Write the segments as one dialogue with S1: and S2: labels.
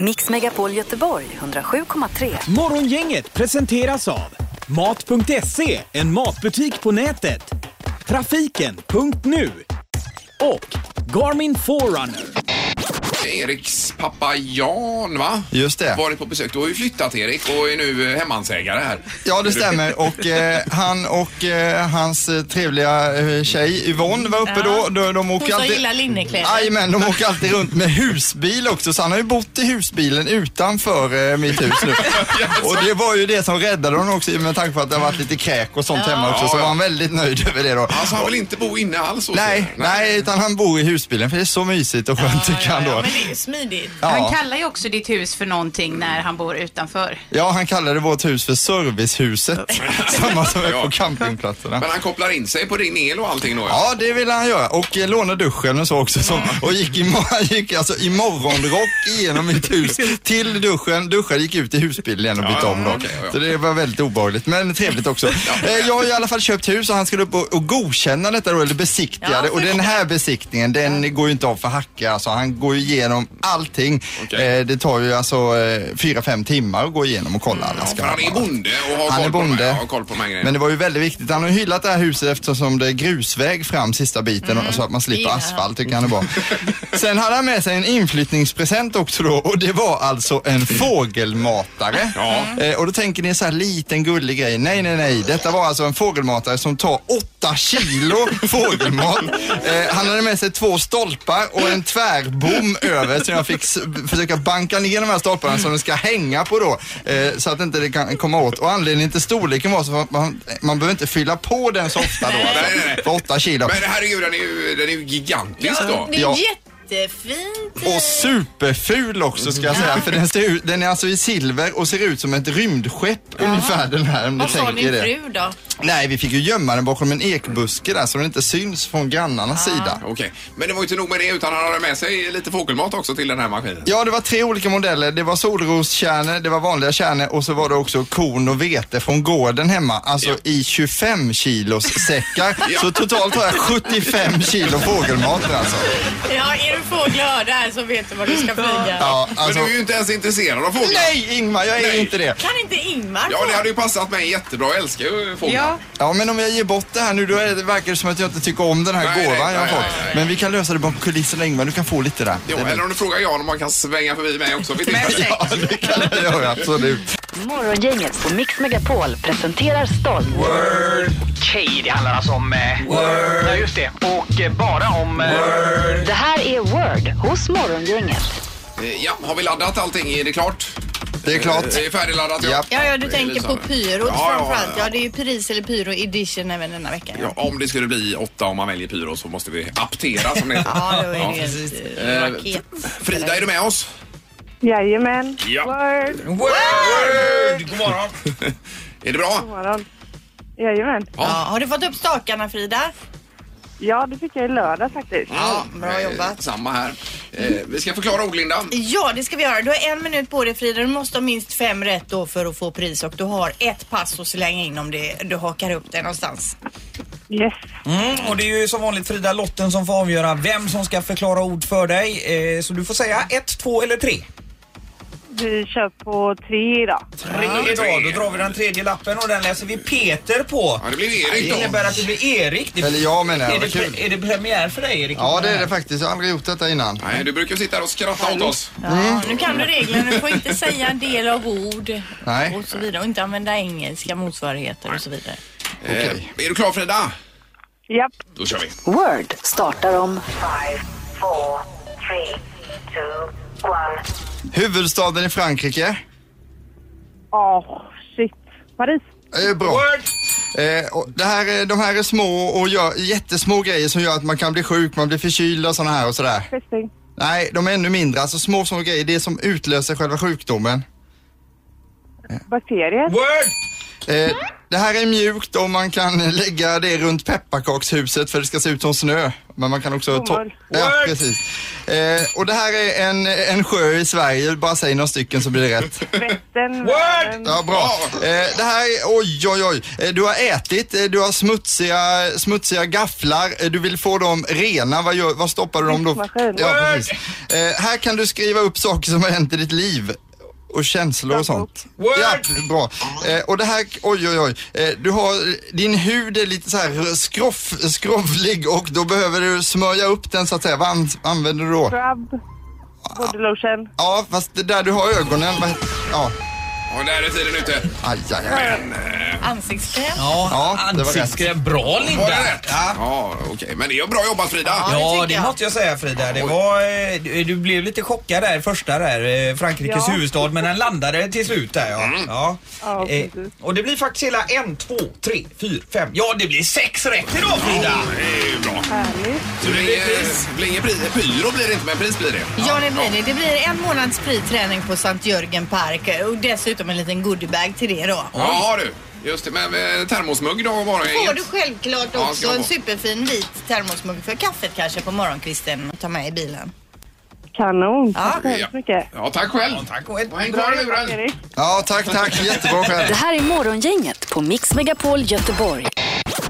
S1: Mix Megapol Göteborg 107,3.
S2: Morgongänget presenteras av Mat.se, en matbutik på nätet. Trafiken.nu och Garmin Forerunner.
S3: Eriks pappa Jan, va?
S4: Just det.
S3: Varit på besök. Du har ju flyttat Erik och är nu eh, hemmansägare här.
S4: Ja, det stämmer. Och eh, han och eh, hans eh, trevliga eh, tjej Yvonne var uppe då. De, de
S5: Hon
S4: åker
S5: som
S4: alltid...
S5: gillar linnekläder.
S4: Jajamän, de åker alltid runt med husbil också. Så han har ju bott i husbilen utanför eh, mitt hus nu. Och det var ju det som räddade honom också med tanke på att det har varit lite kräk och sånt hemma också. Så
S3: Ja, ja.
S4: var han väldigt nöjd över det då.
S3: Alltså han vill inte bo inne alls hos
S4: Nej,
S3: er.
S4: nej, utan han bor i husbilen för det är så mysigt och skönt tycker han
S5: Ja,
S4: då.
S5: men det är ju smidigt.
S6: Han
S4: Ja.
S6: kallar ju också ditt hus för någonting när han bor utanför.
S4: ja, han kallade vårt hus för servicehuset. Samma som är
S3: Ja.
S4: på campingplatserna.
S3: Men han kopplar in sig på din el och allting då?
S4: Ja, det ville han göra. Och eh, låna duschen och så också. Så, och gick i, mo- han gick alltså i morgonrock igenom mitt hus till duschen. Duschade, gick ut i husbilen igen och bytte
S3: ja,
S4: om då.
S3: okej, ja, ja.
S4: Så det var väldigt obehagligt, men trevligt också. Eh, Jag har i alla fall köpt hus och han skulle upp och, och godkänna detta då, eller besiktiga
S5: Ja,
S4: det. Och
S5: för-
S4: den här besiktningen, den går ju inte av för hacka. Alltså, han går ju igenom allting.
S3: Okej.
S4: Eh, Det tar ju alltså eh, fyra, fem timmar att gå igenom och kolla alla
S3: Mm, För han är
S4: skarvar.
S3: bonde och har
S4: Han
S3: koll
S4: är
S3: på de här,
S4: bonde.
S3: har koll på de här grejerna.
S4: Men det var ju väldigt viktigt. Han har ju hyllat det här huset eftersom det är grusväg fram sista biten och- så att man slipper
S5: Ja.
S4: asfalt tycker han är bra. Sen hade han med sig en inflyttningspresent också då och det var alltså en fågelmatare.
S3: Ja.
S4: Eh, och då tänker ni så här liten gullig grej. Nej, nej, nej. Detta var alltså en fågelmatare som tar åtta kilo fågelmat. Eh, han hade med sig två stolpar och en tvärbom över så jag fick s- försöka banka ner de här stolparna som de ska hänga på då. Eh, så att inte det kan komma åt. Och anledningen till storleken var så att man, man behöver inte fylla på den så ofta då.
S3: Nej, nej, nej.
S4: Alltså, för åtta kilo.
S3: Men herregud, den är ju, den är ju gigantisk då.
S5: Det är
S4: Ja.
S5: jättefint.
S4: Och superful också ska jag säga. För den, ser ut, den är alltså i silver och ser ut som ett rymdskepp ungefär den här. Om ni
S5: Vad sa
S4: tänker
S5: din
S4: er det.
S5: fru då?
S4: Nej, vi fick ju gömma den bakom en ekbuske där så den inte syns från
S3: Ah.
S4: grannarnas sida.
S3: Okej, men det var ju inte nog med det utan han hade med sig lite fågelmat också till den här maskinen.
S4: Ja, det var tre olika modeller. Det var solroskärnor, det var vanliga kärnor och så var det också korn och vete från gården hemma. Alltså
S3: Ja.
S4: i 25 kilos säckar. Så totalt har jag 75 kilo fågelmat alltså.
S5: Ja, är du fågelhörd här så vet du var du ska flyga.
S4: Ja,
S3: Men
S4: alltså.
S3: du är ju inte ens intresserad av fåglar.
S4: Nej, Ingmar, jag är
S3: Nej.
S4: inte det.
S5: Kan inte Ingmar
S3: Ja, det
S5: få?
S3: hade ju passat mig jättebra. Jag älskar ju fåglar.
S6: Ja,
S4: Ja, men om jag ger bort det här nu, då är det, verkar det som att jag inte tycker om den här
S3: Nej, nej,
S4: gåvan jag har
S3: nej,
S4: fått.
S3: nej, nej.
S4: Men vi kan lösa det bakom kulisserna, Ingmar. Du kan få lite där.
S3: Jo,
S4: Det är
S3: eller om du frågar Jan om han kan svänga förbi mig också vid
S6: men
S3: tillfälle.
S6: säkert.
S4: lugnt. Det kan jag göra, absolut.
S1: Morgongänget på Mix Megapol presenterar stolt.
S7: Okej, det handlar alltså om... Eh, Ja, just det. Och eh, bara om... Eh,
S1: Det här är Word hos Morgongänget.
S3: Eh, Ja, har vi laddat allting? Är det klart?
S4: Det är klart.
S3: Det är färdigladdat.
S4: Japp.
S5: Ja, ja,
S3: Det
S5: du
S3: är
S5: tänker
S3: lite
S5: på
S3: så här.
S5: pyrot
S3: Ja, ja,
S5: framförallt.
S3: ja.
S5: Ja, det är ju Paris eller Pyro edition även denna veckan.
S3: Ja,
S5: Ja,
S3: om det skulle bli åtta om man väljer pyro så måste vi aptera som det heter.
S5: ja då är
S3: Ja.
S5: det ju
S3: Eh,
S5: en raket.
S3: Frida, är du med oss?
S8: Jajamän.
S3: Ja.
S8: Word.
S3: Word! God morgon! är det bra?
S8: Morgon. Jajamän.
S5: Ja, har du fått upp stakarna
S3: Mm.
S5: Frida?
S8: Ja, det fick jag i lördag faktiskt.
S5: Ja, bra
S3: Eh,
S5: jobbat.
S3: Samma här. Eh, vi ska förklara ord, Linda.
S5: Ja, det ska vi göra. Du har en minut på dig Frida. Du måste ha minst fem rätt då för att få pris och du har ett pass att slänga in om det, du hakar upp det någonstans.
S8: Yes.
S9: Mm, och det är ju som vanligt Frida Lotten som får avgöra vem som ska förklara ord för dig. Eh, så du får säga ett, två eller tre.
S8: Vi kör på tre idag.
S9: Tre idag, då drar vi den tredje lappen och den läser vi Peter på.
S3: Ja, det blev
S9: Det
S3: Erik då.
S9: innebär att det blir Erik. Det,
S4: Eller jag menar
S9: är,
S4: jag,
S9: det,
S4: vad kul.
S9: pre- är det premiär för dig Erik?
S4: Ja, det är det faktiskt. Jag har aldrig gjort detta innan.
S3: Nej, du brukar ju sitta här och skratta åt oss.
S5: Ja, nu kan du reglerna. Du får inte säga en del av ord
S4: Nej.
S5: och så vidare och inte använda engelska motsvarigheter och så vidare.
S4: Okej.
S3: Eh, är du klar, Frida?
S8: Japp.
S3: Då kör vi.
S1: Word startar om
S4: Huvudstaden i Frankrike.
S8: Åh, shit. Paris.
S4: Eh, bra. Eh, och det här, är- de här är små och gör, jättesmå grejer som gör att man kan bli sjuk, man blir förkyld och sådana här och sådär.
S8: Festing.
S4: Nej, de är ännu mindre. Alltså små, små grejer. Det är som utlöser själva sjukdomen.
S8: Bakterier.
S9: Word!
S4: Eh, det här är mjukt och man kan lägga det runt pepparkakshuset för det ska se ut som snö. Men man kan också...
S8: Bomull.
S4: Ja, precis. Eh, och det här är en, en sjö i Sverige. Bara säg några stycken så blir det rätt.
S8: Vättern. den
S9: Word!
S8: världen.
S4: Ja, bra. Eh, det här är, oj, oj, oj. Eh, du har ätit, eh, du har smutsiga, smutsiga gafflar, eh, du vill få dem rena. Vad, gör, vad stoppar du dem då?
S8: Diskmaskin.
S4: Ja, precis. Eh, här kan du skriva upp saker som har hänt i ditt liv och känslor och sånt.
S9: Word!
S4: Ja, bra. Eh, och det här, oj oj oj. Eh, du har, din hud är lite så här skroff, skrovlig och då behöver du smörja upp den så att säga. Vad an- använder du då?
S8: Scrub. Body lotion.
S4: Ja, fast det där du har ögonen, vad- ja,
S3: Och där är tiden ute.
S4: aj, aj, aj.
S5: Ansiktskräm.
S9: Ja,
S4: Ja, det var rätt.
S9: ansiktskräm. Bra
S3: Var
S9: Linda!
S3: det rätt? Ja, okej. Men det är ju bra jobbat Frida.
S5: det
S9: Ja,
S5: tycker
S9: det
S5: jag.
S9: måste jag säga Frida. Det var, eh, du du blev lite chockad där, första där, eh, Frankrikes
S8: Ja. Mm.
S9: huvudstad, men den landade till slut där ja. ja.
S8: Ja,
S9: Eh,
S8: precis.
S9: och det blir faktiskt hela en, två, tre, fyra, fem. Ja, det blir sex rätt idag Frida!
S3: Det är ju bra.
S8: Härligt.
S3: Så det är- blir inget pris. Pyro blir det inte, men pris blir det.
S5: Ja, det blir det. Det blir en månads fri träning på Sankt Jörgen Park och dessutom en liten goodiebag till det då.
S3: Ja du, just det. Men eh, termosmugg då var det
S5: Får
S3: inget.
S5: du självklart
S3: Ja,
S5: också
S3: ska jag
S5: en
S3: få.
S5: superfin vit termosmugg för kaffet kanske på morgonkvisten att ta med i bilen.
S8: Kanon. Tack så
S3: Ja.
S8: hemskt mycket.
S3: Ja, tack själv.
S9: Tack och ett
S3: Och häng
S9: bra
S3: kvar i
S8: Tack,
S3: luren.
S8: Erik.
S4: Ja, tack, tack. Jättebra
S1: Det
S4: själv.
S1: här är Morgongänget på Mix Megapol Göteborg.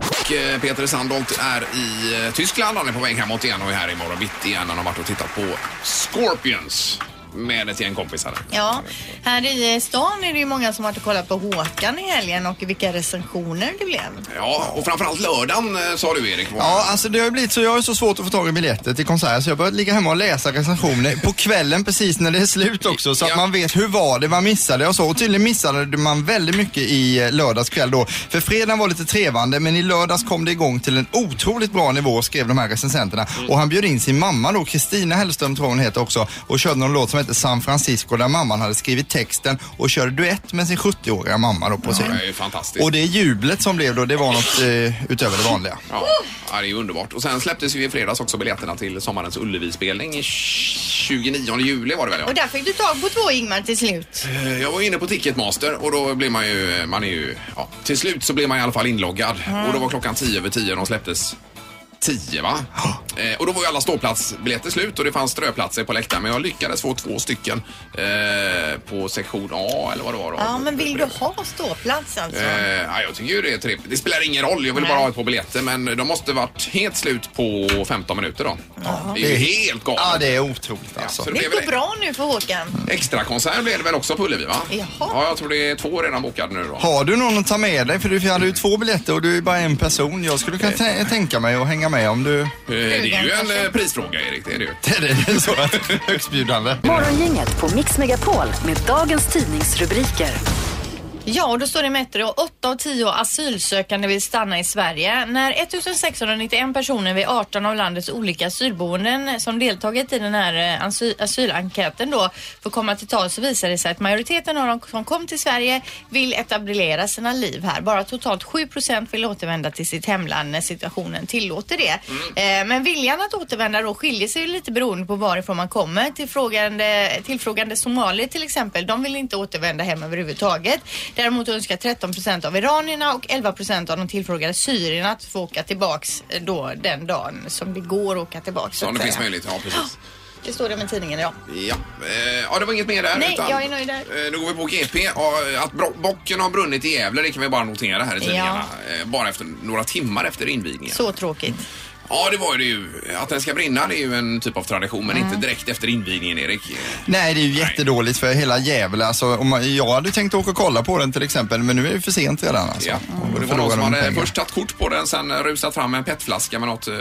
S3: Och, eh, Peter Sandholt är i eh, Tyskland. Han är på väg hemåt igen och är här imorgon bitti igen. Han har varit och tittat på Scorpions med ett gäng kompisar.
S5: Ja, här i eh, stan är det ju många som har varit och kollat på Håkan i helgen och vilka recensioner det blev.
S3: Ja, och framförallt lördagen eh, sa du Erik. var-
S4: Ja, alltså det har ju blivit så. Jag har ju så svårt att få tag i biljetter till konserter så jag har börjat ligga hemma och läsa recensioner på kvällen precis när det är slut också så att
S3: Ja.
S4: man vet hur var det, man missade och så. Och tydligen missade man väldigt mycket i eh, lördags kväll då. För fredagen var lite trevande men i lördags kom det igång till en otroligt bra nivå skrev de här recensenterna. Och han bjöd in sin mamma då, Kristina Hellström tror hon heter också, och körde någon låt som heter San Francisco där mamman hade skrivit texten och körde duett med sin 70-åriga mamma då på
S3: Ja,
S4: scen.
S3: det är ju fantastiskt.
S4: Och det jublet som blev då, det var något eh, utöver det vanliga.
S3: Ja, ja, det är ju underbart. Och sen släpptes ju i fredags också biljetterna till sommarens Ullevi-spelning. i 29 juli var det väl? Ja.
S5: Och där fick du tag på två Ingmar till slut.
S3: Eh, Jag var inne på Ticketmaster och då blir man ju, eh, man är ju, ja, till slut så blir man i alla fall inloggad. Och då var klockan 10 över 10 och de släpptes 10 va? Eh, och då var ju alla ståplatsbiljetter slut och det fanns ströplatser på läktaren men jag lyckades få två stycken eh, på sektion A eller vad det var då.
S5: Ja, men vill du ha ståplats alltså?
S3: Eh, ja, jag tycker ju det är tripp. Det spelar ingen roll, jag vill bara ha ett par biljetter men de måste varit helt slut på 15 minuter då. Ja, det är ju helt galet.
S4: Ja, det är otroligt
S3: Ja,
S4: alltså.
S3: så det
S5: Det
S3: blev väl
S5: går bra nu för Håkan.
S3: Extra konsert blev det väl också på Ullevi va?
S5: Jaha.
S3: Ja, jag tror det är två redan bokade nu då.
S4: Har du någon att ta med dig? För du hade ju två biljetter och du är bara en person. Jag skulle kunna tä- tänka mig att hänga med om du...
S3: Eh, Det är ju en eh, prisfråga Erik, det är det ju.
S4: Det är så att högstbjudande.
S1: Morgongänget på Mix Megapol med dagens tidningsrubriker.
S5: Ja, och då står det i Metro 8 av 10 asylsökande vill stanna i Sverige. När 1691 personer vid 18 av landets olika asylboenden som deltagit i den här eh, asy- asylenkäten då får komma till tal så visar det sig att majoriteten av de som kom till Sverige vill etablera sina liv här. Bara totalt 7 procent vill återvända till sitt hemland när situationen tillåter det. Eh, Men viljan att återvända då skiljer sig ju lite beroende på varifrån man kommer. Tillfrågande, tillfrågande somalier till exempel, de vill inte återvända hem överhuvudtaget. Däremot önskar 13 procent av iranierna och 11 procent av de tillfrågade syrierna att få åka tillbaks eh, då den dagen som det går att åka tillbaks. så
S3: Så om
S5: att
S3: det finns
S5: säga.
S3: möjlighet, ja precis.
S5: det står det med tidningen idag.
S3: Ja, eh, ja det var inget mer där.
S5: Nej, jag är nöjd där.
S3: eh, Nu går vi på GP. Ja, eh, Att bro- bocken har brunnit i Gävle, det kan vi bara notera här i tidningarna. Eh, Bara efter, några timmar efter invigningen.
S5: Så tråkigt.
S3: Ja, det var ju det ju. Att den ska brinna, det är ju en typ av tradition, men
S5: Mm.
S3: inte direkt efter invigningen, Erik. Eh,
S4: Nej, det är ju jättedåligt för hela Gävle. Alltså, om man, jag hade tänkt åka och kolla på den till exempel, men nu är det för sent redan alltså.
S3: Ja.
S4: Och
S3: Och
S4: då
S3: det var någon
S4: förlorar
S3: som
S4: de
S3: hade
S4: pengar.
S3: först tagit kort på den, sen eh, rusat fram med en petflaska med något eh,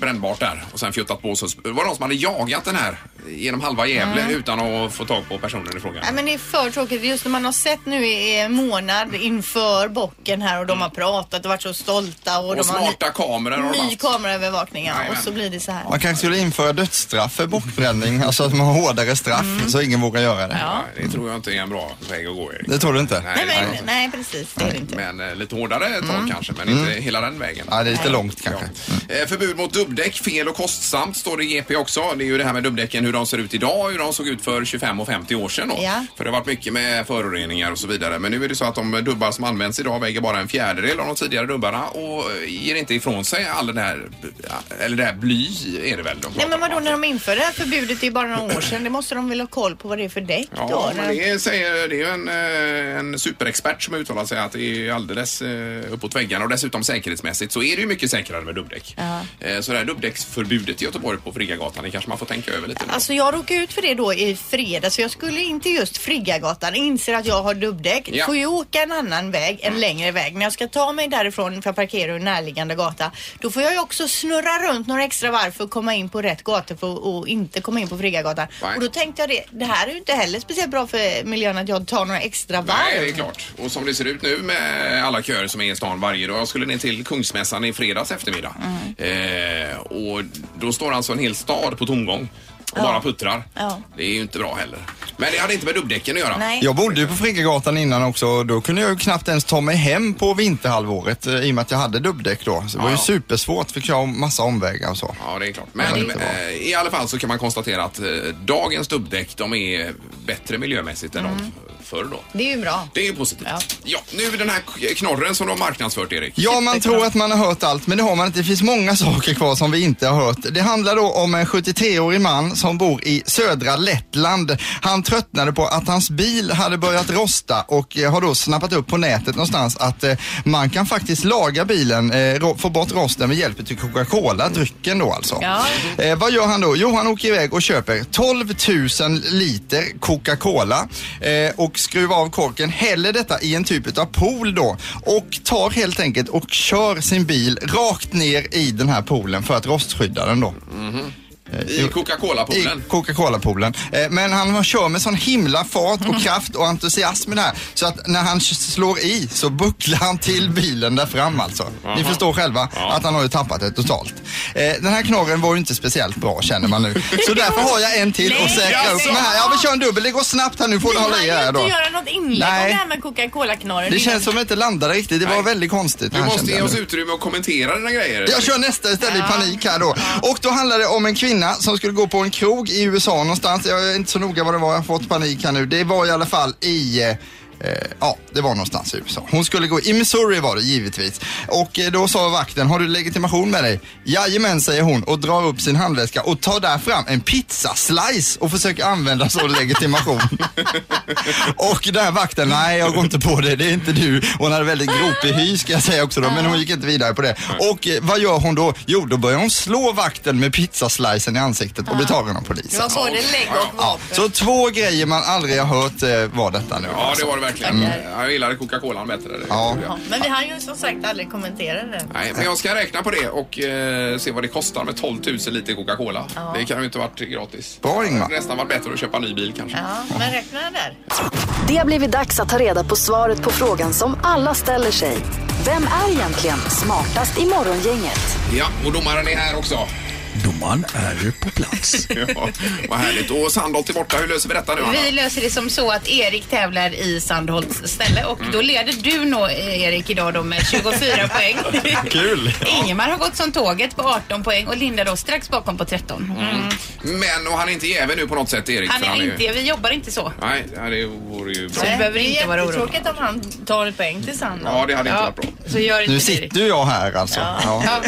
S3: brännbart där och sen fjuttat på. Så det var någon som hade jagat den här genom halva Gävle utan att få tag på personen i frågan.
S5: Mm. Nej, men det är för tråkigt. Just när man har sett nu i en månad inför bocken här och de har pratat och varit så stolta och,
S3: Och,
S5: de
S3: smarta kameror
S5: har
S3: och
S5: ny,
S3: de
S5: ny
S3: haft.
S5: kameraövervakning ja, och
S3: Jajamän.
S5: så blir det så här.
S4: Man kanske skulle införa dödsstraff för bockbränning, alltså att man har hårdare straff
S3: Mm.
S4: så ingen vågar göra det.
S5: Ja.
S3: Nej, Det tror jag inte är en bra väg att gå, Erik.
S4: Det tror du inte?
S5: Nej, men,
S3: nej.
S5: nej, precis. Det är det inte.
S3: Men eh, lite hårdare tag
S5: Mm.
S3: kanske, men inte hela den vägen.
S4: Ja, det är lite långt kanske.
S3: Eh, Förbud mot dubbdäck, fel och kostsamt står det i GP också. Det är ju det här med dubbdäcken, hur de de ser ut idag och hur de såg ut för 25 och 50 år sedan. Då.
S10: Ja.
S3: För det har varit mycket med föroreningar och så vidare. Men nu är det så att de dubbar som används idag väger bara en fjärdedel av de tidigare dubbarna och eh, ger inte ifrån sig all den här, eh, eller det här bly är det väl de
S5: Nej
S3: pratar
S5: men
S3: om,
S5: vadå
S3: att-
S5: när de införde det här förbudet det är bara några år sedan. Det måste de väl ha koll på vad det är för däck
S3: Ja,
S5: då?
S3: men det, säger, det är ju en, eh, en superexpert som uttalar sig att det är alldeles eh, uppåt väggarna och dessutom säkerhetsmässigt så är det ju mycket säkrare med dubbdäck. Eh, Så det här dubbdäcksförbudet i Göteborg på Friggagatan, det kanske man får tänka över lite. nu.
S5: Alltså jag råkade ut för det då i fredags för jag skulle in till just Friggagatan, inser att jag har dubbdäck.
S3: Ja.
S5: Får ju åka en annan väg, en längre väg. När jag ska ta mig därifrån för att parkera ur närliggande gata, då får jag ju också snurra runt några extra varv för att komma in på rätt gata för att, och inte komma in på Friggagatan.
S3: Nej.
S5: Och då tänkte jag det, det här är ju inte heller speciellt bra för miljön att jag tar några extra varv.
S3: Nej, det är klart. Och som det ser ut nu med alla köer som är i stan varje dag. Jag skulle ner till Kungsmässan i fredags eftermiddag.
S5: Mm.
S3: Eh, och då står alltså en hel stad på tomgång och bara puttrar.
S5: Ja.
S3: Det är ju inte bra heller. Men det hade inte med dubbdäcken att göra.
S5: Nej.
S4: Jag bodde ju på Friggagatan innan också och då kunde jag ju knappt ens ta mig hem på vinterhalvåret eh, i och med att jag hade dubbdäck då. Så det var ju
S3: Ja.
S4: supersvårt, fick jag massa omvägar och så.
S3: Ja, det är klart.
S4: Ja, det är
S3: Men
S4: inte bra.
S3: eh, i alla fall så kan man konstatera att eh, dagens dubbdäck de är bättre miljömässigt än de förr då.
S5: Det är ju bra.
S3: Det är ju positivt. Ja.
S5: Ja.
S3: nu den här eh, knorren som de har marknadsfört, Erik.
S4: Ja, man tror att man har hört allt, men det har man inte. Det finns många saker kvar som vi inte har hört. Det handlar då om en 73-årig man som bor i södra Lettland. Han tröttnade på att hans bil hade börjat rosta och eh, har då snappat upp på nätet någonstans att eh, man kan faktiskt laga bilen, eh, ro- få bort rosten med hjälp av Coca-Cola, drycken då alltså.
S5: Ja.
S4: Eh, vad gör han då? Jo, han åker iväg och köper 12 000 liter Coca-Cola eh, och skruvar av korken, häller detta i en typ av pool då och tar helt enkelt och kör sin bil rakt ner i den här poolen för att rostskydda den då.
S3: I Coca-Cola-poolen.
S4: I Coca-Cola-poolen. Eh, Men han har- kör med sån himla fart och kraft och entusiasm i det här. Så att när han s- slår i så bucklar han till bilen där fram alltså. Ni förstår själva att han har ju tappat det totalt. Eh, Den här knorren var ju inte speciellt bra känner man nu. Så därför har jag en till och säkra upp
S3: Jaså?
S4: med här. Ja vi kör en dubbel, det går snabbt här nu får du hålla i
S5: Vi hann ju
S4: här
S5: inte
S4: då.
S5: göra något inlägg
S4: Nej.
S5: om det här med Coca-Cola-knorren.
S4: Det känns som att det inte landade riktigt, det var
S3: Nej.
S4: väldigt konstigt.
S3: Du
S4: här,
S3: måste
S4: kände
S3: ge
S4: jag
S3: oss
S4: nu.
S3: utrymme att kommentera dina grejer.
S4: Jag kör nästa istället i panik här då. Och då handlar det om en kvinna som skulle gå på en krog i USA någonstans. Jag är inte så noga vad det var, jag har fått panik här nu. Det var i alla fall i... eh, Eh, ja, det var någonstans i USA. Hon skulle gå, i Missouri var det givetvis. Och eh, då sa vakten, har du legitimation med dig? Jajamän, säger hon och drar upp sin handväska och tar där fram en pizzaslice och försöker använda som legitimation. och den här vakten, nej jag går inte på det, det är inte du. Hon hade väldigt gropig hy ska jag säga också då, men hon gick inte vidare på det. Och eh, vad gör hon då? Jo, då börjar hon slå vakten med pizzaslicen i ansiktet och blir tagen av
S5: Det
S4: polisen.
S5: var både lägg och
S4: Ja,
S5: vapen.
S4: så två grejer man aldrig har hört eh, var detta nu.
S3: Ja, det var det verkligen.
S5: Tackar.
S3: Ja, Jag gillade Coca-Colan bättre. det
S4: Ja.
S3: gjorde jag.
S5: Ja, Men vi hann ju som sagt aldrig kommentera det.
S3: Nej, men jag ska räkna på det och eh, se vad det kostar med 12 000 liter Coca-Cola. Det kan ju inte ha varit gratis.
S4: Bra, Ingmar.
S3: Det hade nästan varit bättre att köpa en ny bil kanske.
S5: Ja, men räkna där.
S1: Det har blivit dags att ta reda på svaret på frågan som alla ställer sig. Vem är egentligen smartast i Morgongänget?
S3: Ja, och domaren är här också.
S2: Domaren är på plats.
S3: Ja, vad härligt. Och Sandholt är borta. Hur löser vi detta nu, Anna?
S6: Vi löser det som så att Erik tävlar i Sandholts ställe och då leder du nå eh, Erik idag då med 24 poäng.
S4: Kul!
S6: Ingemar har gått som tåget på 18 poäng och Linda då strax bakom på 13.
S3: Men, och han är inte jävig nu på något sätt, Erik.
S6: Han
S3: för
S6: är
S3: ju-
S6: inte, vi jobbar inte så.
S3: Nej, ja, det vore ju bra.
S6: Så du behöver
S5: Det är
S6: inte vara orolig.
S5: jättetråkigt om han tar ett poäng till Sanna.
S3: Ja, det hade inte
S6: Ja,
S3: varit bra.
S6: så gör inte
S4: Nu
S6: det,
S4: sitter
S6: Erik.
S4: ju jag här alltså. Ja.
S6: Ja.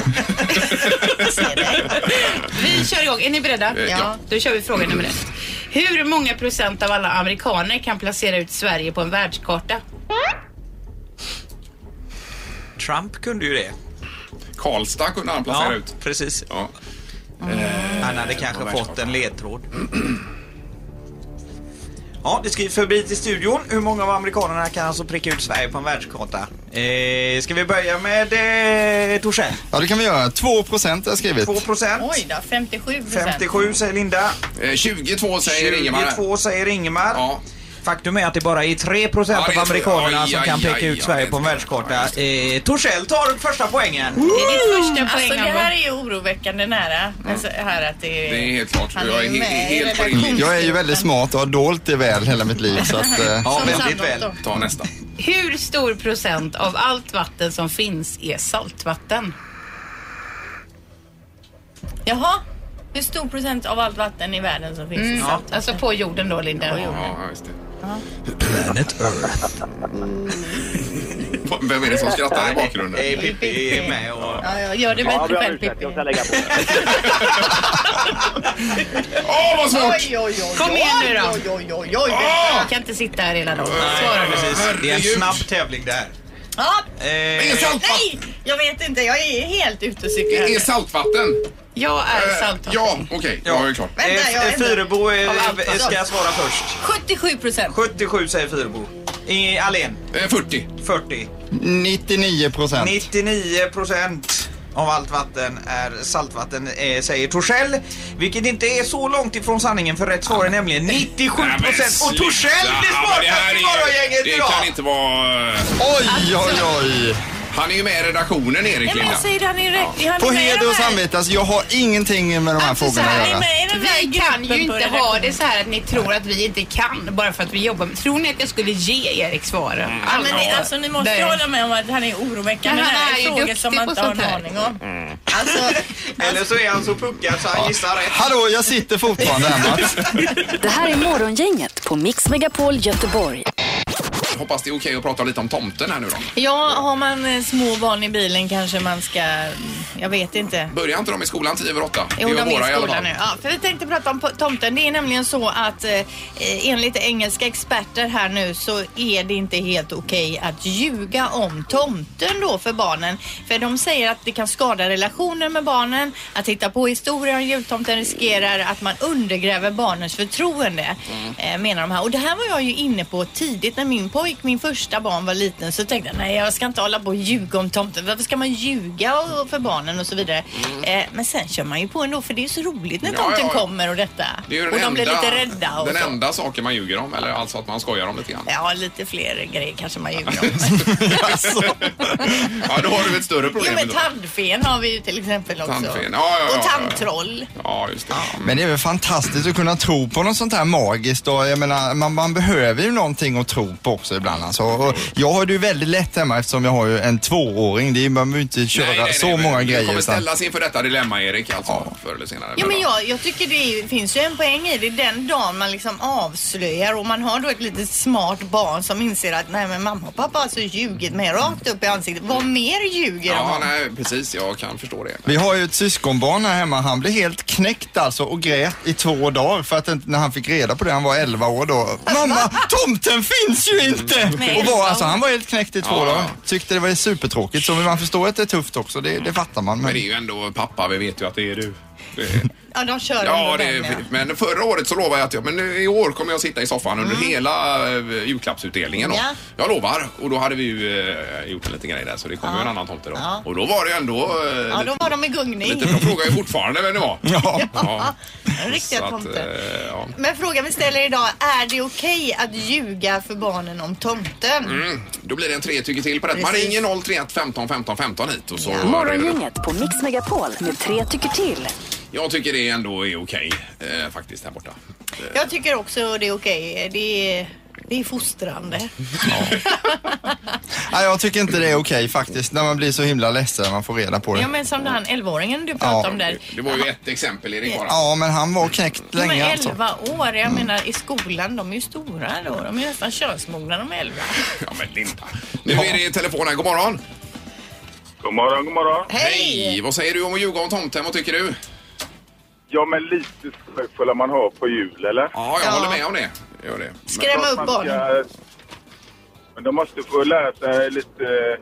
S6: vi kör igång. Är ni beredda?
S3: Eh, ja.
S6: Då kör vi fråga nummer ett. Hur många procent av alla amerikaner kan placera ut Sverige på en världskarta?
S9: Trump kunde ju det.
S3: Karlstad kunde han placera ut.
S9: precis.
S3: Ja. Eh,
S9: Han hade kanske
S3: var
S9: fått en ledtråd. Ja, det skriver förbi till studion. Hur många av amerikanerna kan alltså pricka ut Sverige på en världskarta? Eh, ska vi börja med eh, Torssell?
S4: ja, det kan vi göra. Två procent har jag skrivit.
S9: 2 procent.
S5: Oj då, 57 procent.
S9: 57 säger Linda.
S3: Eh, 22 säger Ingemar.
S9: 22 säger Ingemar.
S3: Ja.
S9: Faktum är att det bara är 3
S3: Ja, det
S9: procent
S3: är
S9: av amerikanerna
S3: tre.
S9: som
S3: Aj,
S9: kan
S3: aj,
S9: peka
S3: aj,
S9: ut
S3: aj,
S9: Sverige
S3: aj,
S9: på en
S3: aj,
S9: världskarta.
S3: ja,
S9: Eh, Torssell tar första poängen.
S6: Det är ditt första
S5: Alltså
S6: poäng,
S5: det här
S6: Alma.
S5: är ju oroväckande nära.
S6: Mm.
S5: Men så här att det är...
S3: Det är helt klart.
S5: Han
S3: Jag är
S5: är ju
S3: he-
S5: med i
S3: helt på din linje.
S4: Jag är ju väldigt smart och har dolt det väl hela mitt liv. Så att, eh,
S9: Ja,
S5: Som
S9: väldigt
S5: Sandholt
S9: väl.
S5: då.
S3: Ta nästa.
S6: Hur stor procent av allt vatten som finns är saltvatten?
S5: Jaha, Hur stor procent av allt vatten i världen som finns i
S6: Mm.
S5: salt?
S6: Alltså på jorden då, Linda.
S3: Ja, just det.
S2: Planet Earth.
S3: Vem är det som skrattar i bakgrunden?
S9: Eh, Pippi är med och...
S5: Ja, jag gör det
S7: Ja,
S5: bättre
S7: jag ber om
S5: själv,
S7: ursäkt.
S5: Pippi.
S7: Jag ska lägga på.
S3: Åh, vad svårt!
S6: Kom igen nu då. Jag kan inte sitta här hela dagen. Svara nu.
S9: Precis. Det är en
S3: Herregud.
S9: snabb tävling det här.
S6: Ah!
S5: Ja,
S9: Eh,
S3: Är saltvatten?
S5: nej! Jag vet inte, jag är helt ute och cyklar.
S3: Är saltvatten?
S6: Jag är saltvatten.
S3: Eh, Ja, okej. Då har vi klart.
S9: eh,
S5: Vänta, jag
S9: eh,
S5: är
S9: Fyrebo eh,
S5: Av allt, alltså.
S9: ska jag svara först.
S5: 77 procent.
S9: 77 säger Fyrebo. I Alen
S3: Eh, 40.
S9: 40.
S4: 99 procent.
S9: 99 procent av allt vatten är saltvatten eh, säger Torssell. Vilket inte är så långt ifrån sanningen för rätt svar är nämligen 97
S3: Nej, men
S9: procent. Och
S3: sluta.
S9: Torssell
S3: Ja,
S9: blir
S3: men här
S9: smartast i
S3: är-
S9: Morgongänget
S3: Det
S9: idag!
S3: kan inte vara...
S4: Oj, oj, oj.
S3: Han är ju med i redaktionen, Erik
S5: Nej, men
S3: Linda.
S5: jag säger det, han är rätt. Han är
S4: På
S5: med i
S4: heder
S5: de
S4: och
S5: här-
S4: samvete, alltså, jag har ingenting med de här
S5: Alltså, så
S4: frågorna att
S5: här,
S4: göra.
S5: är med i den här
S6: Vi kan ju
S5: gruppen på
S6: inte ha
S5: redaktionen.
S6: det så här att ni tror att vi inte kan bara för att vi jobbar med... Tror ni att jag skulle ge Erik svaren?
S5: Ja, men det, alltså, ni måste ju
S6: Nej.
S5: hålla med om att han är oroväckande.
S6: Men han
S5: här
S6: är ju
S5: frågor
S6: duktig
S5: som man
S6: på
S5: inte har en
S6: sånt här.
S5: aning om.
S9: Eller så är han så puckad så han gissar rätt.
S4: Hallå, jag sitter fortfarande här Mats.
S1: Det här är Morgongänget på Mix Megapol Göteborg.
S3: Hoppas det är okej att prata lite om tomten här nu då.
S5: Ja, har man eh, små barn i bilen kanske man ska... Jag vet inte.
S3: Börjar inte de i skolan 10 över 8?
S5: Jo, de är i
S3: alla
S5: skolan
S3: fall.
S5: nu. Ja, för vi tänkte prata om po- tomten. Det är nämligen så att eh, eh, enligt engelska experter här nu så är det inte helt okej att ljuga om tomten då för barnen. För de säger att det kan skada relationer med barnen. Att hitta på historier om jultomten riskerar att man undergräver barnens förtroende. Eh, menar de här. Och det här var jag ju inne på tidigt när min pojk, min första barn var liten så tänkte jag nej jag ska inte hålla på och ljuga om tomten. Varför ska man ljuga och- för barnen och så vidare. Eh, men sen kör man ju på ändå för det är så roligt när
S3: Ja,
S5: tomten
S3: ja, ja.
S5: kommer och detta.
S3: Det är ju den
S5: och de blir
S3: enda-
S5: lite rädda och
S3: Den
S5: så.
S3: enda saken man ljuger om, eller alltså att man skojar om lite grann.
S5: Ja, lite fler grejer kanske man ljuger om.
S3: Ja, då har du ett större
S5: jo
S3: problem.
S5: men
S3: då.
S5: tandfen har vi ju till exempel också.
S3: Tandfen. Ja, ja, ja,
S5: och
S3: ja, ja.
S5: tandtroll.
S3: Ja, just det. Mm.
S4: Men det är väl fantastiskt att kunna tro på något sånt här magiskt och jag menar, man, man behöver ju någonting att tro på också ibland alltså. och Jag har det ju väldigt lätt hemma eftersom jag har ju en tvååring. Det är, man behöver inte köra
S3: Nej, nej, nej,
S4: så
S3: men
S4: många
S3: Du
S4: grejer.
S3: kommer
S4: Utan,
S3: ställas inför detta dilemma, Erik, alltså, förr eller senare.
S5: Ja, men
S3: då-
S5: jag, jag tycker det är, ju- finns ju en poäng i det. Den dagen man liksom avslöjar och man har då ett litet smart barn som inser att nej men mamma och pappa har alltså ljugit mig rakt upp i ansiktet. Vad mer ljuger de
S3: Ja,
S5: om?
S3: nej, precis. Jag kan förstå det.
S4: vi har ju ett syskonbarn här hemma. Han blev helt knäckt alltså och grät i två dagar för att inte- när han fick reda på det, han var 11 år då. Mamma, tomten finns ju inte!
S5: Nej,
S4: Och var,
S5: så.
S4: alltså, han var helt knäckt i två
S3: Ja, ja.
S4: dagar. Tyckte det var supertråkigt. Så man förstår att det är tufft också, det, det fattar man.
S3: Men det är ju ändå pappa, vi vet ju att det är du. Det-
S5: Ja, de kör
S3: Ja,
S5: ändå
S3: det
S5: den, ja.
S3: är, men förra året så lovade jag att jag, men i år kommer jag sitta i soffan under hela eh, julklappsutdelningen. Då.
S5: Mm. Ja.
S3: Jag lovar. Och då hade vi ju eh, gjort en liten grej där så det kom ju en annan tomte då.
S5: Ja.
S3: Och då var det ju ändå... Eh,
S5: Ja, då var de i gungning.
S3: lite, de frågar ju fortfarande vem det var.
S4: Ja.
S3: Ja.
S5: En
S3: Så
S5: Riktiga
S3: att,
S5: tomter.
S3: eh, ja.
S5: Men frågan vi ställer idag, är det okej att ljuga för barnen om tomten?
S3: Mm, Då blir det en tre tycker till på rätt. Man
S5: Precis.
S3: ringer 031 15 15 15 hit och så reder vi upp.
S1: Morgongänget på Mix Megapol med tre tycker till.
S3: Jag tycker det ändå är okej eh, faktiskt här borta.
S5: Jag tycker också det är okej. Det är, det är fostrande.
S4: Nej, jag tycker inte det är okej faktiskt. När man blir så himla ledsen när man får reda på det.
S5: Ja, men som den 11-åringen du pratade
S4: Ja.
S5: om där.
S3: Det var ju ett exempel Erik bara.
S4: Ja, men han var knäckt
S5: De
S4: länge
S5: är
S4: alltså.
S5: 11 år, jag menar i skolan, de är ju stora då. De är nästan könsmogna de är 11.
S3: Ja men Linda. Nu är det i telefonen. God morgon.
S10: God morgon, god morgon.
S3: Hej! Vad säger du om att ljuga om tomten? Vad tycker du?
S10: Ja, men lite skoj får man ha på jul, eller?
S3: Ja, jag
S5: Ja.
S3: håller med om det. Gör det.
S5: Skrämma upp
S10: Man
S5: barnen.
S10: ska- Men de måste få lära sig lite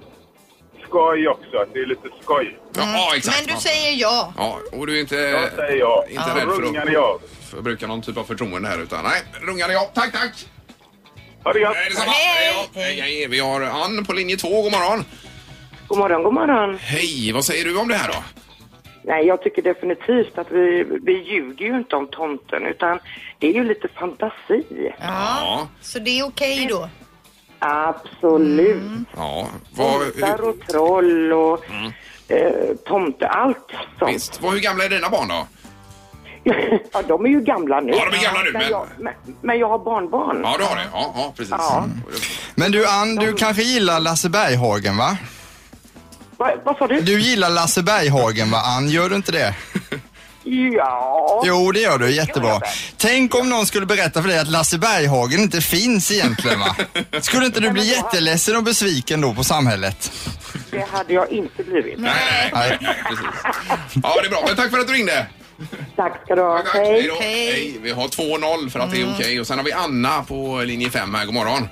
S10: skoj också, att det är lite skoj.
S3: Ja, ja, exakt.
S5: Mm. Men du säger ja.
S3: Ja, och du är inte,
S10: Jag säger ja.
S3: inte
S10: Då
S3: rädd för
S10: rungar
S3: att
S10: ni av.
S3: förbruka någon typ av förtroende här utan nej, rungar jag. Tack, tack!
S10: Ha det gött!
S3: Nej, detsamma.
S5: Hej.
S3: Hej, då. hej, hej! Vi har Ann på linje två. God morgon!
S8: God morgon, god morgon.
S3: Hej! Vad säger du om det här då?
S8: Nej, jag tycker definitivt att vi, vi ljuger ju inte om tomten utan det är ju lite fantasi.
S3: Ja.
S5: Så det är okej då.
S8: Absolut.
S3: Mm. Ja. Vad,
S8: Tomtar
S3: hur,
S8: och troll och eh, tomte, allt sånt.
S3: Mm. visst. Vad, hur gamla är dina barn då?
S8: ja, de är ju gamla nu.
S3: Ja, de är gamla nu, men-
S8: Men jag, men, men jag har barnbarn.
S3: Ja, du har det. Ja, ja precis. Mm.
S8: Ja.
S4: Men du Ann, du kanske gillar Lasse Berghagen va?
S8: Va, vad sa du?
S4: Du gillar Lasse Berghagen va Ann, gör du inte det?
S8: Ja.
S4: Jo, det gör du. Jättebra. Tänk om någon skulle berätta för dig att Lasse Berghagen inte finns egentligen, va? Skulle inte du bli jätteledsen och besviken då på samhället?
S8: Det hade jag inte blivit.
S3: Nej, nej, nej. Precis. Ja, det är bra. Men tack för att du ringde.
S8: Tack ska du ha.
S3: Tack,
S8: Hej.
S3: då. Hej. Mm. Vi har 2-0 för att det är okej. Och sen har vi Anna på linje 5 här. God morgon.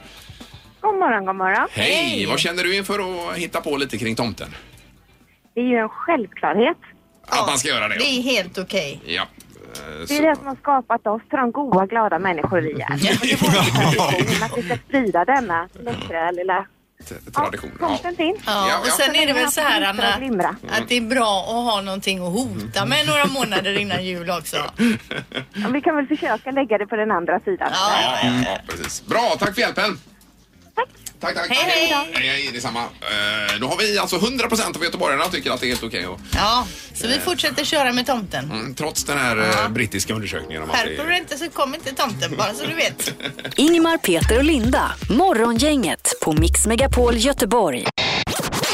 S11: God morgon, god morgon.
S3: Hej. Vad känner du inför att hitta på lite kring tomten?
S11: Det är ju en självklarhet.
S3: Att man ska göra det.
S11: är helt okej.
S3: Ja.
S11: Det är det som har skapat oss till de goda, glada människor vi är. Och det var ambitionen att vi ska sprida denna läckra lilla
S3: Tradition. Ja. Mm.
S11: tomten finns.
S5: Ja, och sen är det väl så här Anna,
S11: Glimra.
S5: att det är bra att ha någonting att hota med några månader innan jul också.
S11: Ja, Vi kan väl försöka lägga det på den andra sidan.
S3: Ja, ja, ja, precis. Bra, tack för hjälpen. Tack, tack.
S11: Hej, hej.
S3: hej, hej detsamma. Eh, då har vi alltså 100% av göteborgarna tycker att det är helt okej. och-
S5: Ja, så vi fortsätter köra med tomten.
S3: Mm, trots den här eh, brittiska undersökningen om att det
S5: Skärper du dig inte så kommer inte tomten bara så du vet.
S1: Ingemar, Peter och Linda. Morgongänget på Mix Megapol Göteborg.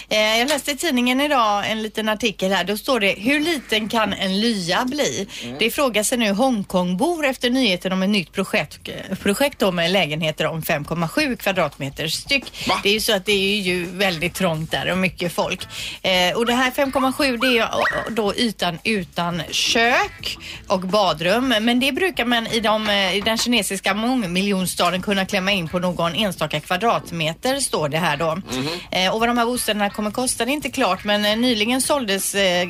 S5: Eh, Jag läste i tidningen idag en liten artikel här. Då står det Hur liten kan en lya bli? Det frågar sig nu Hongkongbor efter nyheten om ett nytt projekt, projekt då med lägenheter om 5,7 kvadratmeter styck. Det är ju så att det är ju väldigt trångt där och mycket folk. Eh, och det här 5,7 det är ju eh, då ytan utan kök och badrum. Men det brukar man i, de, eh, i den kinesiska mångmiljonstaden kunna klämma in på någon enstaka kvadratmeter står det här då.
S3: Mhm.
S5: Eh, och vad de här bostäderna kommer kosta det är inte klart men eh, nyligen såldes eh,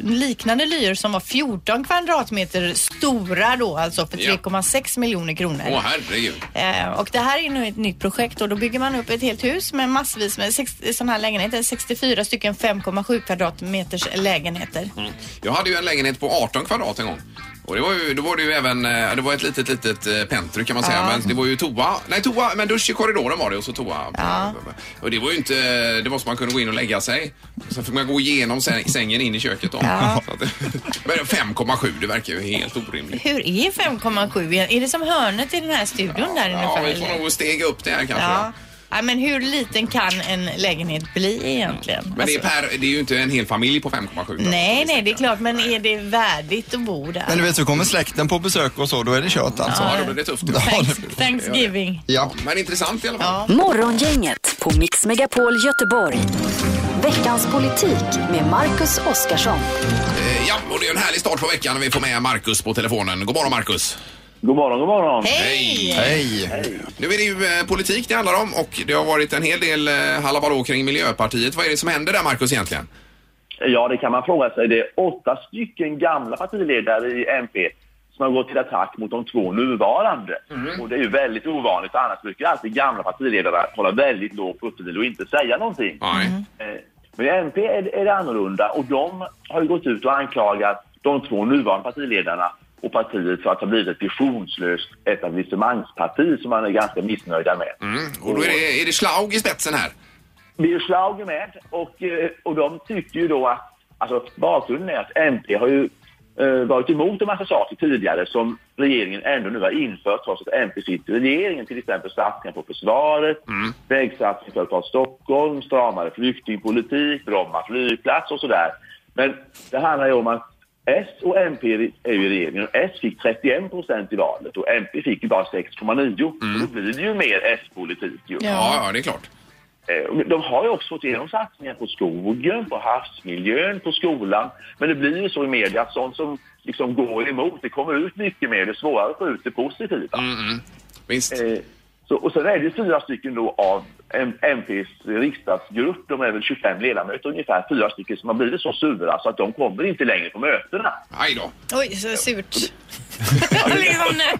S5: liknande lyor som var 14 kvadratmeter stora då alltså för
S3: Ja.
S5: 3,6 miljoner kronor.
S3: Åh, herregud.
S5: Eh, och det här är nu ett nytt projekt och då bygger man upp ett helt hus med massvis med sex- sådana här lägenheter. 64 stycken 5,7 kvadratmeters lägenheter.
S3: Mm. Jag hade ju en lägenhet på 18 kvadrat en gång. Och det var ju, då var det ju även, eh, det var ett litet, litet eh, pentry kan man säga. Men det var ju toa, nej toa, men dusch i korridoren var det och så toa. Och det var ju inte, det var så man kunde gå in och lägga sig. Sen fick man gå igenom säng, sängen in i köket då.
S5: Ja.
S3: Så att, men 5,7 det verkar ju helt orimligt.
S5: Hur är 5,7? Är det som hörnet i den här studion där
S3: Ja,
S5: ungefär?
S3: vi får
S5: eller?
S3: nog stega upp det här kanske.
S5: ja. ja, men hur liten kan en lägenhet bli egentligen?
S3: Men det är,
S5: Alltså,
S3: per, det är ju inte en hel familj på 5,7. då.
S5: Nej, nej, det är klart, men är det värdigt att bo där?
S4: Men du vet, så kommer släkten på besök och så, då är det kört alltså.
S3: Ja, då blir det tufft.
S4: Ja, det-
S5: Thanksgiving.
S4: Ja.
S3: Men intressant i alla fall.
S1: Morgongänget på Mix Megapol Göteborg. Veckans politik med Marcus Oskarsson.
S3: Eh, Ja, och det är ju en härlig start på veckan när vi får med Marcus på telefonen. God morgon Marcus!
S12: God morgon, god morgon!
S5: Hej!
S4: Hej!
S3: Nu är det ju eh, politik det handlar om och det har varit en hel del eh, halabalå kring Miljöpartiet. Vad är det som händer där Marcus egentligen?
S12: Ja, det kan man fråga sig. Det är åtta stycken gamla partiledare i MP som har gått till attack mot de två nuvarande. Och det är ju väldigt ovanligt, annars brukar ju alltid gamla partiledare hålla väldigt låg profil och inte säga någonting. Eh, Men i MP är det, är det annorlunda och de har ju gått ut och anklagat de två nuvarande partiledarna och partiet för att ha blivit ett visionslöst etablissemangsparti som man är ganska missnöjda med.
S3: Och då är det, är det Schlaug i spetsen här.
S12: Birger Schlaug är med och, eh, och de tycker ju då att, alltså bakgrunden är att MP har ju eh, varit emot en massa saker tidigare som regeringen ändå nu har infört trots att MP sitter i regeringen. Till exempel satsningar på försvaret, vägsatsning för att ta Stockholm, stramare flyktingpolitik, Bromma flygplats och sådär. Men det handlar ju om att S och MP är ju i regeringen och S fick 31 procent i valet och MP fick ju bara 6,9. Då blir det ju mer S-politik ju.
S3: Ja, ja, det är klart.
S12: Eh, De har ju också fått igenom satsningar på skogen, på havsmiljön, på skolan. Men det blir ju så i media att sånt som liksom går emot, det kommer ut mycket mer. Det är svårare att få ut det positiva. Eh, Så, och sen är det ju fyra stycken då av M- MPs riksdagsgrupp, de är väl 25 ledamöter ungefär, fyra stycken som har blivit så sura så att de kommer inte längre på mötena.
S3: Aj då.
S5: Oj, så surt. liksom, nej.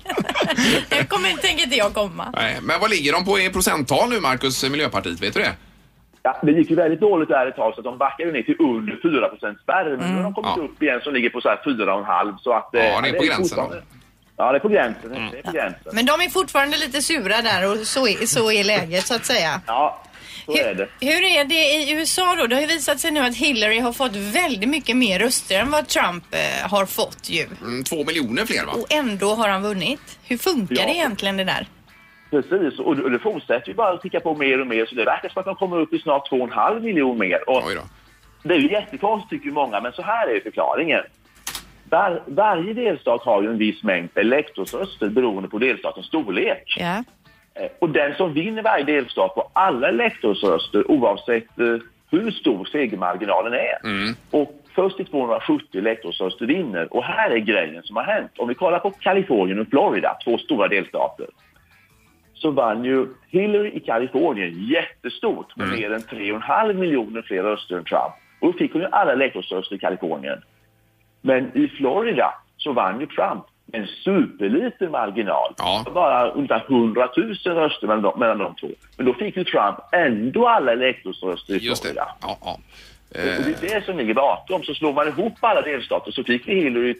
S5: Jag kommer inte, tänker inte jag komma.
S3: Nej, men vad ligger de på i procenttal nu Marcus, eh, Miljöpartiet? Vet du det?
S12: Ja, det gick ju väldigt dåligt där ett tag så att de backade ju ner till under 4 spärren. Men nu har de kommit upp igen som ligger på så här 4,5 så att... eh,
S5: Ja, det är på gränsen
S12: fortfarande- Ja, det är på gränsen.
S3: Mm.
S12: Det är på gränsen.
S5: Men de är fortfarande lite sura där och så är, så är läget så att säga.
S12: Ja, så är det.
S5: Hur är det i USA då? Det har ju visat sig nu att Hillary har fått väldigt mycket mer röster än vad Trump eh, har fått ju.
S3: Mm, två miljoner fler va?
S5: Och ändå har han vunnit. Hur funkar
S12: Ja.
S5: det egentligen det där?
S12: Precis, och det- och det fortsätter ju bara att ticka på mer och mer så det verkar som att de kommer upp i snart 2,5 miljoner mer. Och
S3: Oj då.
S12: Det är ju jättekonstigt tycker ju många, men så här är ju förklaringen. var, varje delstat har ju en viss mängd elektorsröster beroende på delstatens storlek.
S5: Ja.
S12: Eh, Och den som vinner varje delstat på alla elektorsröster oavsett eh, hur stor segermarginalen är. Och först till 270 elektorsröster vinner. Och här är grejen som har hänt. Om vi kollar på Kalifornien och Florida, två stora delstater, så vann ju Hillary i Kalifornien jättestort med mer än 3,5 miljoner fler röster än Trump. Och då fick hon ju alla elektorsröster i Kalifornien. Men i Florida så vann ju Trump med en superliten marginal. Bara ungefär 100 000 röster mellan de, mellan de två. Men då fick ju Trump ändå alla elektorsröster i
S3: Just det.
S12: Florida.
S3: Ja, ja.
S12: Och och det är det som ligger bakom. Så slår man ihop alla delstater så fick vi Hillary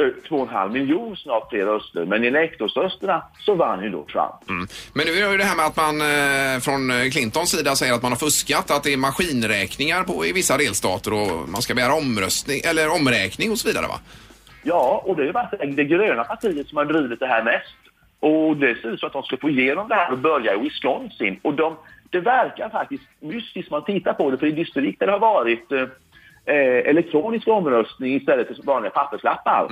S12: eh, 2,5 miljoner snart fler röster. Men i elektorsrösterna så vann ju då Trump.
S3: Mm. Men nu är det ju det här med att man eh, från eh, Clintons sida säger att man har fuskat, att det är maskinräkningar på, i vissa delstater och man ska begära omröstning, eller omräkning och så vidare va?
S12: Ja, och det har ju varit det gröna partiet som har drivit det här mest. Och det ser ut så att de ska få igenom det här och börja i Wisconsin. Och de, det verkar faktiskt mystiskt man tittar på det, för i distrikt där det har varit eh, eh, elektronisk omröstning istället för vanliga papperslappar.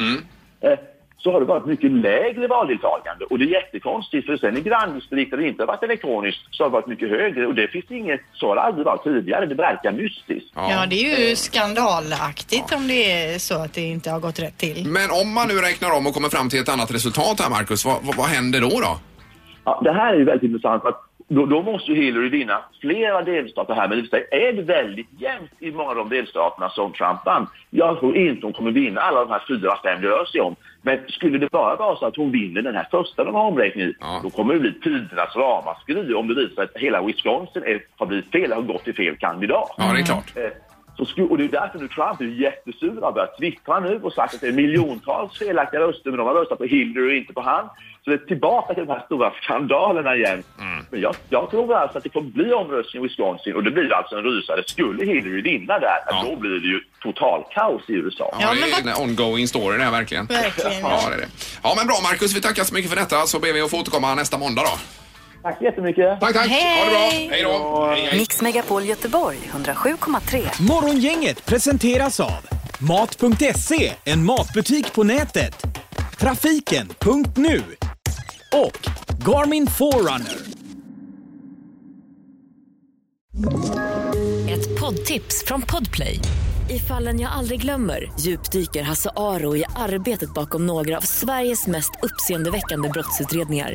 S12: Eh, så har det varit mycket lägre valdeltagande och det är jättekonstigt för sen i granndistrikt där det inte har varit elektroniskt så har det varit mycket högre och det finns inget, så har det aldrig varit tidigare, det verkar mystiskt.
S5: Ja, det är ju skandalaktigt om det är så att det inte har gått rätt till.
S3: Men om man nu räknar om och kommer fram till ett annat resultat här Marcus, vad, vad, vad händer då då?
S12: Ja, det här är ju väldigt intressant. för Att då, då måste ju Hillary vinna flera delstater här. Men i och för sig är det väldigt jämnt i många av de delstaterna som Trump vann. Jag tror inte hon kommer vinna alla de här fyra, fem det rör sig om. Men skulle det bara vara så att hon vinner den här första de har omräkning i, då kommer det bli tidernas ramaskri om det visar sig att hela Wisconsin är, har blivit fel, har gått till fel kandidat.
S3: Ja, det är klart.
S12: Eh, Så sku, och det är därför nu Trump är jättesur. Han har börjat twittra nu och sagt att det är miljontals felaktiga röster men de har röstat på Hillary och inte på han. Så det är tillbaka till de här stora skandalerna igen. Men jag, jag tror alltså att det kommer bli omröstning i Wisconsin och det blir alltså en rysare. Skulle Hillary vinna där, då blir det ju total kaos i USA.
S3: Ja, det är en ongoing story det här verkligen.
S12: Verkligen.
S3: Ja, det är det. ja men bra Marcus, vi tackar så mycket för detta så ber vi att få återkomma nästa måndag då.
S12: Tack så jättemycket.
S3: Tack, tack. Ha det bra. Hej då. Hej, hej.
S1: Mix Megapol Göteborg 107,3.
S13: Morgongänget presenteras av Mat.se, en matbutik på nätet. Trafiken.nu och Garmin Forerunner.
S14: Ett poddtips från Podplay. I fallen jag aldrig glömmer djupdyker Hasse Aro i arbetet bakom några av Sveriges mest uppseendeväckande brottsutredningar.